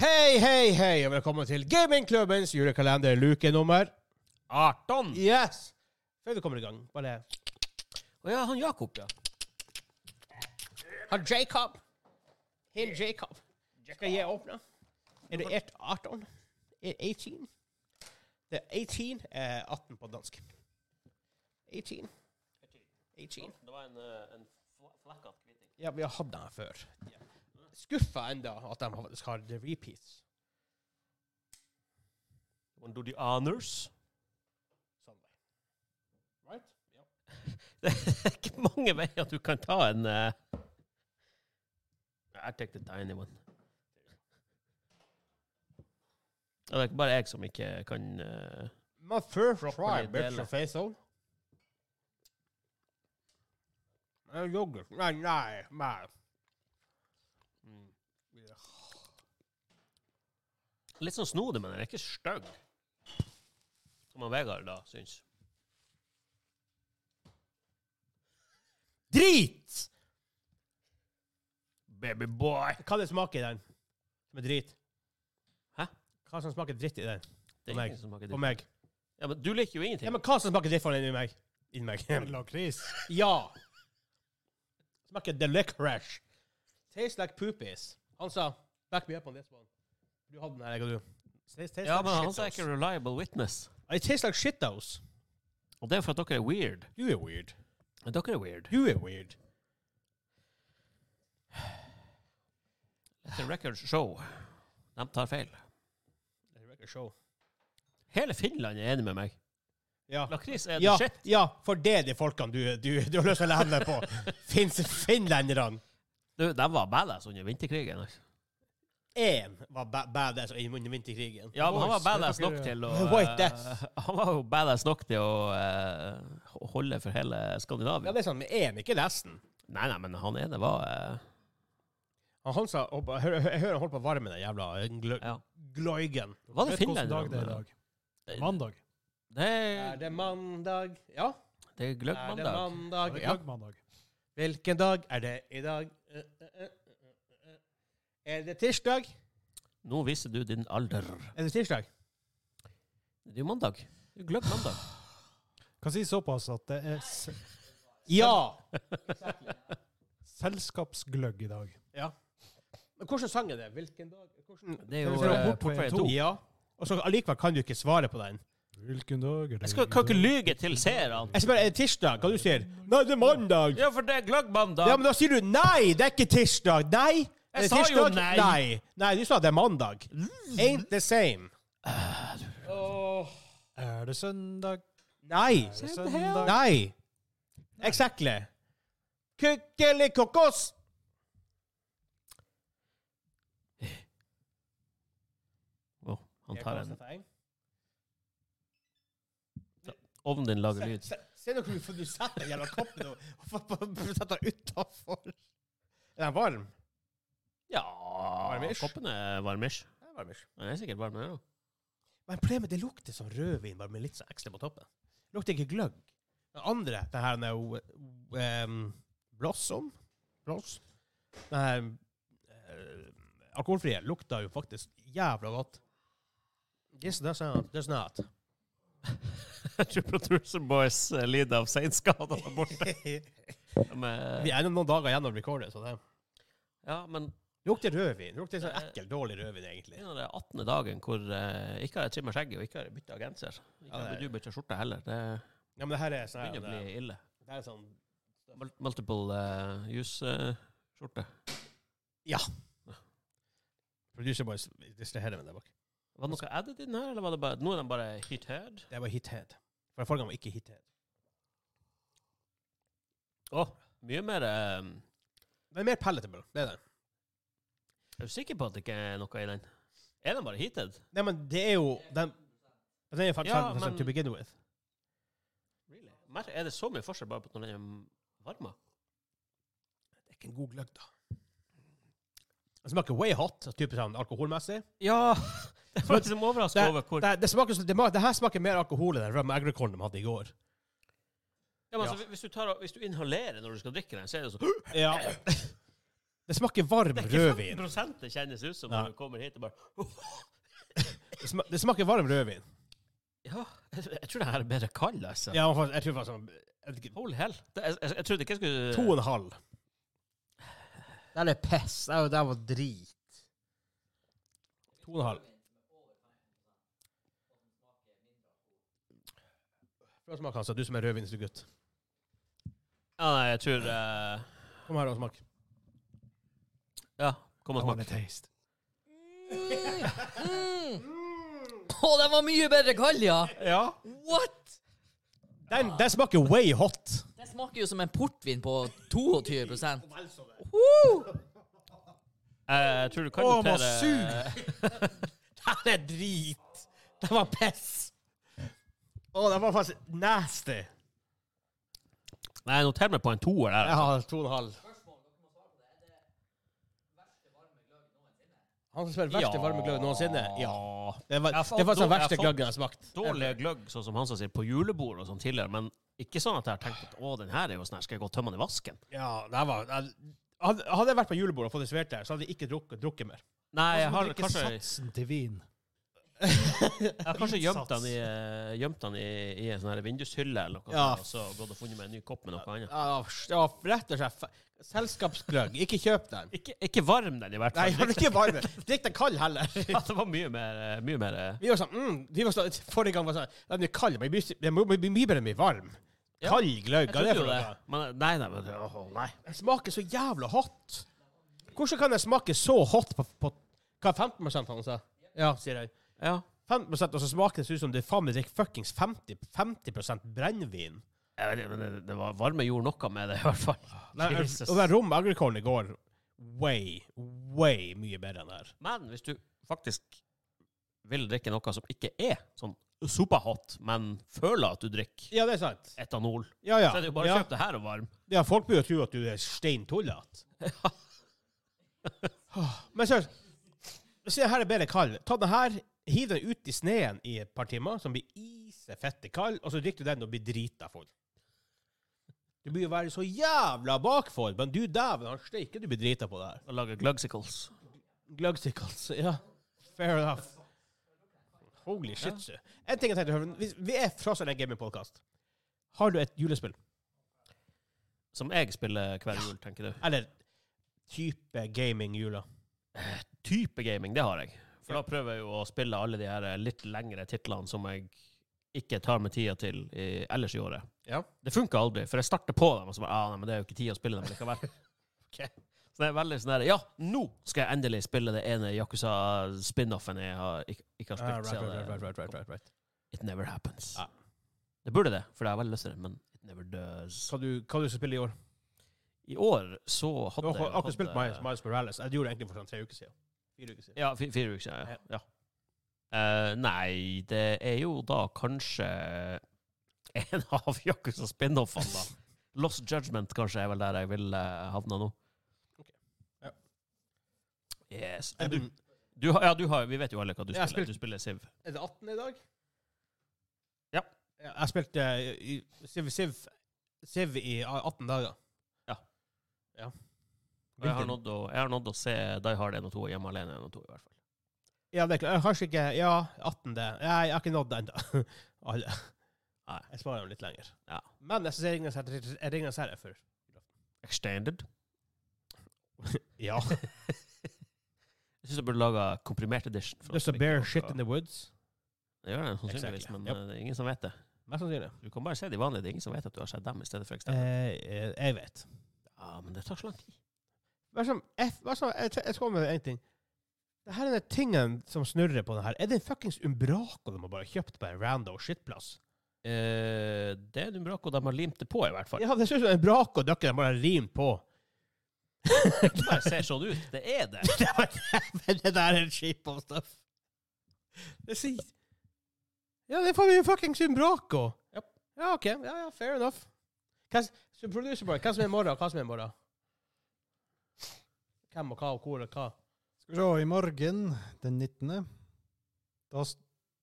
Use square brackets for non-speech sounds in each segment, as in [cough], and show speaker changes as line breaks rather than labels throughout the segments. Hei, hei, hei, og velkommen til Gamingklubbens julekalender lukenummer.
18!
Yes! Før vi kommer i gang, bare
Å ja, han Jakob, ja.
Han Jacob. Hin Jacob. Skal jeg åpne? Er det et 18? Er det 18? Det er 18 er 18 på dansk. 18. 18.
Det var en, flekkat kvitting.
Ja, vi har hatt den her før. Skuffa enda at de faktisk har the repeats.
Wanna do the honors?
Sånn. Right?
[laughs] Det er ikke mange veier du kan ta en eh, I take the tiny one. Ja, Det er ikke bare jeg som ikke kan eh,
My first
Properly
try, bitch
dele.
and face on. Eh, Yoghurt. Nei, nei, nei.
Litt sånn snodig, men den er ikke stygg. Som han Vegard da syns.
Drit!
Babyboy!
Hva det smaker i den? Som er drit?
Hæ?
Hva som smaker dritt i den? På
Det er
meg.
ingen som smaker
På
dritt. er-
meg.
Ja, men du liker jo
Ja,
ingenting.
men hva som smaker dritt for den inni meg? Inni meg. [laughs]
Lakris.
ja. Smaker the licorice. Tastes like poopies. Han sa, back me up on this one. Du hadde den her, jeg og du. Tastes, tastes
Ja,
like
men han
shittos.
sa ikke 'reliable witness'.
It tastes like shittos.
Og det er for at dere er weird.
Du er weird.
Dere er weird.
Du er weird.
Etter record show. De tar feil.
Det er ikke show.
Hele Finland er enig med meg.
Ja.
Lakris er
Ja,
the shit.
ja, for det er de folkene du, du, du har lyst til å legge hendene
[laughs]
på. Finns finlenderne.
Du, de var badass under vinterkrigen. altså.
Én var ba badass i under vinterkrigen.
Ja, men han var
Boys,
badass
dere-
nok
[laughs]
til å
White death.
eh, [laughs] Han var jo badass nok til å eh, ho- holde for hele
Ja,
Skandinavia.
det er sånn, men én, ikke resten.
Nei, nei, men han ene var eh,
Han, han sa, og, hør, hør, jeg hører han holdt på å varme den jævla eh, gl
Ja.
gloigen.
Var det
Vet hvordan
finlenderne?
dag det er i dag?
Det,
Mandag.
Er
det,
det mandag? Ja.
det er
Er det
gløggmandag.
Er
mandag?
det
Ja.
gløggmandag?
Hvilken dag er det i dag? Eh, eh, eh, eh, eh. Er det tirsdag?
Nå viser du din alder.
Er det tirsdag?
Det er jo mandag. Det er jo gløggmandag. [laughs]
Kan si såpass at det er se-
Ja!
selskapsgløgg i dag.
ja. Men hvordan sang er det? Hvilken dag? Hvordan?
Det er jo
Skal vi se,
eh,
Portveien
Portveien
to.
to.
Ja. Og så allikevel kan du ikke svare på den.
Hvilken dag er det?
Jeg skal, kan ikke lyge til seerne.
Jeg spør, er det tirsdag? Hva du sier? Nei, det er mandag.
Ja, for det er gløggmandag.
Ja, men da sier du nei, det er ikke tirsdag. Nei. er det
sa jo
tirsdag?
nei.
nei. Nei, du sa det er mandag. Ain't the same.
Er det søndag?
Nei.
Er det søndag?
Nei. Exactly. Kukkelikokos.
Å, han tar en Ovnen din lager lyd.
Se, se nå hvorfor du setter den jævla koppen og, og, setter den utafor. Er den varm?
[laughs] Ja
Varmish?
Koppen er varmish.
Den er varm.
Den er sikkert varm, den òg.
Men problemet det lukter som rødvin, bare med litt sånn ekstra på toppen. Det lukter ikke gløgg. Den andre, den her den er jo ehm, Blossom Bloss. Den her eh, alkoholfrie lukta jo faktisk jævla godt. Yes, that's not. That's not.
[laughs] Jeg tror Producer Boys eh, lider av seinskader der [laughs] borte.
Vi
De [laughs] er-
er ennå noen dager igjen å rekorde, så det
Ja, men
lukter rødvin. Det Lukter sånn ekkel, dårlig rødvin, egentlig.
det er den 18. dagen hvor eh, ikke har jeg trimma skjegget, og ikke har jeg bytta genser. Ikke
Ja,
har
det er-
du bytta skjorte heller. Det
Ja, men det her er sånn her,
begynner å
det,
bli ille.
det her er sånn
Mul- Multiple uh, use-skjorte.
Producer Boys distraherer meg der bak.
var det noe added i den her, eller var det bare Nå er den bare hit head?
Det var hithead. For forrige gang var ikke hithead.
Å, mye mer eh,
Men mer palatable, det er det.
Er du sikker på at det ikke er noe i den? Er den bare heated?
Nei, men det er jo den Den er jo faktisk
Ja,
100%
men-
to begin with.
Really? Mer, er det så mye forskjell bare på at når den er varma? [laughs]
Det er ikke en god gløgg, da. Den smaker way hot, så typisk sånn alkoholmessig.
Ja! Det var liksom overraska over hvor
Det, det, smaker, som- det, ma- det her smaker mer alkohol enn den rum agricolen de hadde i går.
ja, men, altså,
ja.
hvis, du tar, og- hvis du inhalerer når du skal drikke den, så er det sånn
Ja. Det smaker varm
Det er ikke
rødvin.
15 det kjennes ut som
Nei.
når du kommer hit og bare
Det, sma det smaker varm rødvin.
Ja, [laughs] jeg, jeg tror det her er bedre kald, altså.
Ja, faktisk- jeg tror faktisk sånn jeg vet ikke,
Holy hell. Det, jeg, jeg, jeg trodde ikke jeg skulle
To og en halv.
Den er piss. Den, den var drit.
To og en halv. Prøv å smake, Hansa. Du som er rødvinsgutt.
Ja, nei, jeg tror eh,
Kom her og smak.
Ja, kom og
I want a
smak.
taste.
Mm. Å, den var mye bedre kald, ja!
Ja.
What?!
Den, den smaker way hot.
Det smaker jo som en portvin på 22
Eh, Jeg tror du kan
Å,
notere
man
[laughs]
suger.
Den er drit! Den var piss!
Å, den var faktisk nasty.
Nei, noter meg på en toer der.
Jeg har to og en halv. Han som spiller verste
Ja.
varme gløgg noensinne? Ja. Det var,
Jeg har fått
det var den
dårlig-
verste
jeg har fått
gløggen jeg har smakt.
Dårlige gløgg, sånn som Hansa sier, på julebord og sånn tidligere, men ikke sånn at jeg har tenkt at å, den her er jo sånn her, skal jeg gå og tømme den i vasken?
Ja, det var... jeg- Hadde hadde jeg vært på julebord og fått det servert der, så hadde jeg ikke drukket, drukket mer.
Nei, jeg
Hvordan
har
drikker
kanskje,
satsen til vin.
jeg har
[laughs]
kanskje
Innsats.
gjemt den i, eh, gjemt den i, i en sånn her vindushylle eller noe,
Ja.
sånt, og så gått og funnet meg en ny kopp med noe annet.
Ja, det var rett og slett fe- selskapsgløgg. Ikke kjøp
[laughs]
den.
Ikke, ikke varm den, i hvert
Nei,
fall.
han er ikke varm. Drikk den kald heller. [laughs]
Ja, det var mye mer, eh, mye mer eh,
Vi var sånn, mm, vi var sånn Forrige gang var sånn Den er kald, men den må bli mye bedre enn den blir varm.
Ja.
Kald gløgg.
Jeg
Hva er det
trodde jo
for
det.
noe?
Men, nei, nei, men, åh, nei.
Den smaker så jævla hot. Hvordan kan den smake så hot på, på Hva, 15 han sa? Ja, sier jeg.
Ja.
15 og så smaker det så ut som det faen meg drikker fuckings 50, 50 brennevin.
Jeg vet ikke, men det, det var varme gjorde noe med det, i hvert fall.
Nei,
Jesus.
Og den rom agricole i går way, way mye bedre enn det her.
Men hvis du faktisk vil drikke noe som ikke er sånn superhot, men føler at du drikker
Ja, det er sant.
etanol,
Ja, ja.
så er det jo bare å
ja.
kjøpe det her og varm.
ja folk bør jo tro at du er stein
[laughs]
tullete. Men seriøst, se her er bedre kald. Ta den her, hiv den ut i sneen i et par timer, som blir isefette kald, og så drikker du den og blir drita full. Du blir jo være så jævla bakfor, men du dæven, han steike du blir drita på det her.
Og lage glugsicles.
Glugsickles, ja. Fair enough. Holy shit, ja. En ting jeg tenkte, Høven, hvis- vi er fra sånn en gaming-podkast. Har du et julespill?
Som jeg spiller hver jul, tenker du.
Eller type gaming-jula?
Type gaming, det har jeg. For da prøver jeg jo å spille alle de her eh, litt lengre titlene som jeg ikke tar meg tida til i, ellers i året.
Ja.
Det funka aldri, for jeg starter på dem, og så bare ah, nei, men det er jo ikke tid å spille
[laughs]
dem likevel. Ok. Så det er veldig sånn der Ja, nå skal jeg endelig spille det ene Yakuza-spin-offen jeg har, ikke, ikke
Ah,
har spilt. siden det- It never happens.
Ja.
Det burde det, for det er veldig lyst til det, men it never does.
Hva du, hva du skal spille i år?
I år så
Du
hadde
har
jeg
akkurat spilt
hadde-
Miles, Miles Morales. Jeg gjorde det egentlig for sånn tre uker siden. Fire uker siden.
Ja, fi- fire uker siden. Ja. ja. Eh, nei, det er jo da kanskje en av Yakuza spin-offene, da. Lost Judgment kanskje er vel der jeg vil eh, havne nå.
Ok. Ja.
Yes.
Er,
Du,
du,
du, har- ja, du har, vi vet jo alle hva du
Jeg har
spiller.
spilt-
Du spiller Siv.
er det 18 i dag?
Ja.
Jeg har spilt eh, i- Civ, Civ, Civ i 18 dager.
Ja.
Ja.
Og jeg har nådd å, jeg har nådd å se Die Hard 1 og 2 og Hjemme alene 1 og 2, i hvert fall.
Ja, det er klart. Jeg har Kanskje ikke Ja, 18. det. Nei, jeg har ikke nådd det ennå. [laughs] Alle.
Nei.
Jeg sparer dem litt lenger.
Ja.
Men jeg syns Ringenes herre jeg Ringenes herre er for
Extended.
[laughs] Ja.
Jeg syns jeg burde laga komprimert edition. for
Just a
at vi
bear
ikke
shit
skal-
in the woods.
Det gjør det sannsynligvis,
Exactly.
men
Yep.
eh, det er ingen som vet det.
Mest sannsynlig.
Du kan bare se de vanlige. Det er ingen som vet at du har sett dem i stedet for
Eh,
Extended.
eh, jeg vet.
Ja, men det tar så lang tid.
Hva som, jeg, hva som, jeg, jeg tror med en ting. Det her er den tingen som snurrer på det her. Er det en fuckings Umbraco de har bare kjøpt på en rando shitplass?
Eh, det er en Umbraco de har limt det på, i hvert fall.
Ja, det ser ut som en braco dere har bare rimt på.
Det bare ser sånn ut. Det er det.
[laughs] det var- men det der er en skip of stuff. Det sier Ja, det er faen meg en fuckings Umbraco. Ja, OK. Ja, ja, fair enough. Hva, s- så producer boy, hva som er i morgen, og hva som er i morgen? Hvem og hva og hvor og hva?
Skal vi se, i morgen den 19. Da s-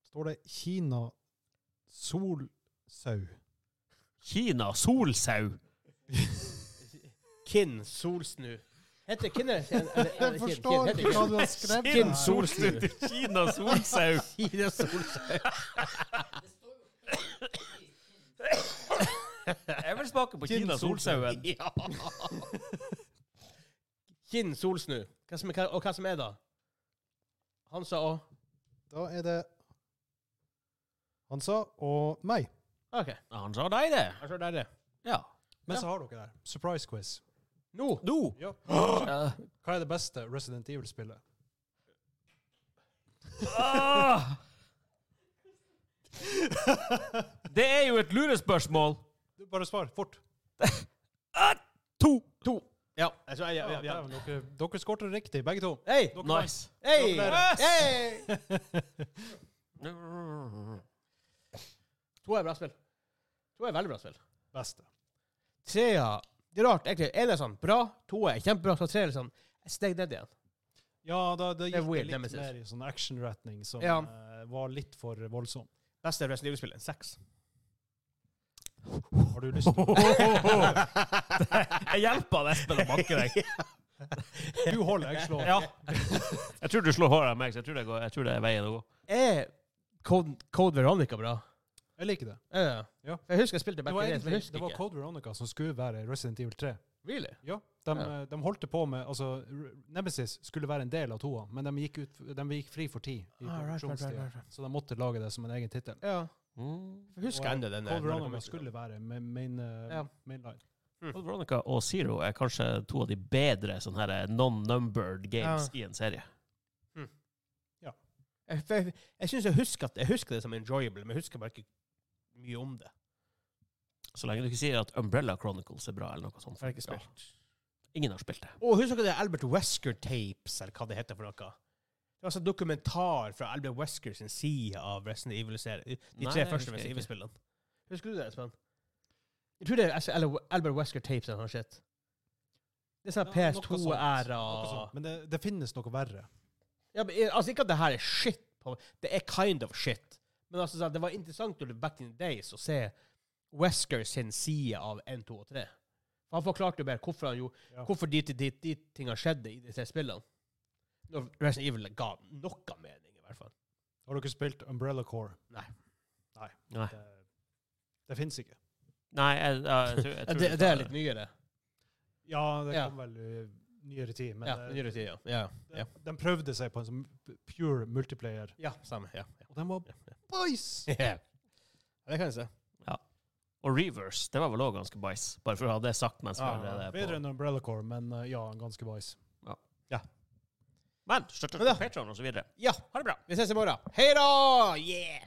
står det Kina solsau.
Kina solsau.
Kinn Solsnu. Heter hvem er- er- er- er-
Jeg
er-
forstår
heter-
ikke hva du har skrevet.
Kinn
her.
Solstue.
Kina solsau.
Kine Solstue.
Jeg vil smake på Kina solsauen.
Ja. Kinn Solsnu. Hva som er, hva- og hva som er da? Han sa òg
Da er det Hansa og meg.
OK.
Han sa nei, det.
Jeg tror det er det.
Ja.
Men så har dere der. Surprise quiz.
Nå!
Nå.
Ja.
Ja.
Hva er det beste Resident Evil-spillet?
Ah! Det er jo et lurespørsmål.
Du, Bare svar fort.
To.
To. Ja. Jeg tror jeg, ja,
Ja,
ja, ja.
dæven, Dere, dere skårte riktig, begge to.
Hei!
Dere
Nice.
Hei!
Gratulerer.
Hei! To er bra spill. To er veldig bra spill.
Beste.
Trea Det er rart. egentlig. En er sånn bra, to er kjempebra, så tre er sånn et steg ned igjen.
Ja, da, da
Det er
gikk det
weird,
litt
Nemesis.
mer i sånn action-retning som
Ja.
eh, var litt for voldsom.
Beste Resident Evil-spill en seks.
Har du lyst
[laughs]
til å
Jeg hjelper Espen å banke deg.
Du holder, jeg slår.
Ja. Jeg tror du slår håret av meg, så jeg tror det, går, jeg tror det er veien å gå.
Er Code, Code Veronica bra?
Jeg liker det.
Ja, ja.
Ja.
Jeg husker jeg spilte
Det
back in
var,
the days, men jeg
egentlig,
husker
det var
ikke.
Code Veronica som skulle være Resident Evil 3.
Really?
Ja, de, eh,
Ja.
de holdt det på med altså, R- Nemesis skulle være en del av toa, men de gikk, ut, de gikk fri for tid.
Ah,
i
right, right, right,
produksjonstida.
right, right.
Så de måtte lage det som en egen tittel.
Ja.
Mm.
Jeg
Og,
husker
eh,
ennå den.
Code Veronica skulle være main, main, eh,
Ja.
mainline.
Code Veronica og Zero er kanskje to av de bedre sånne her eh, non-numbered games i en serie.
Jeg, jeg, jeg synes jeg husker, at, jeg husker det som enjoyable, men jeg husker bare ikke mye om det.
Så lenge du ikke sier at Umbrella Chronicles er bra, eller noe sånt.
Jeg har ikke spilt.
Ingen har spilt det.
Og husker dere det Albert Wesker Tapes, eller hva det heter for noe? Det var sånn dokumentar fra Albert Wesker sin side av Resident Evil-serien. De
Nei,
tre første
det husker jeg
Resident
ikke.
Evil-spillene. Husker du det, Espen? Jeg tror det er Al- Albert Wesker Tapes eller noe shit. Det er sånn
Ja, noe sånt.
PS2-æra.
Noe sånt. Men det, det finnes noe verre.
Ja, men, eh, altså, ikke at det her er shit. På, det er kind of shit. Men altså, sånn, det var interessant under Back in the Days å se Wesker sin side av 1, 2 og 3. For han forklarte jo mer hvorfor, han jo,
Ja.
hvorfor de, de, de tinga skjedde i de tre spillene. Når Resident Evil ga noe mening, i hvert fall.
Har dere spilt Umbrella Core?
Nei.
Nei.
Nei.
Det, det finnes ikke.
Nei, jeg, jeg, jeg, tror-
[laughs]
jeg
Ja, det,
tror du
det
tar
er litt nyere.
Ja, det
Ja.
kom vel i nyere tid, men
Ja,
eh,
nyere tid, ja. Ja, ja.
de, de prøvde seg på en sånn pure multiplayer,
ja samme. Ja, ja.
og den var
Ja, ja.
bæsj!
[laughs] Ja, det kan jeg se.
Og Reverse, det var vel òg ganske bæsj, bare for å ha det sagt mens vi
Ah,
allerede er
Bedre
på.
enn Umbrella Core, men eh, ja, ganske bæsj.
Men støtt oss
Men da-
på Patreon og så videre.
Ja,
Ha det bra.
vi ses i morgen. Hei da! Yeah!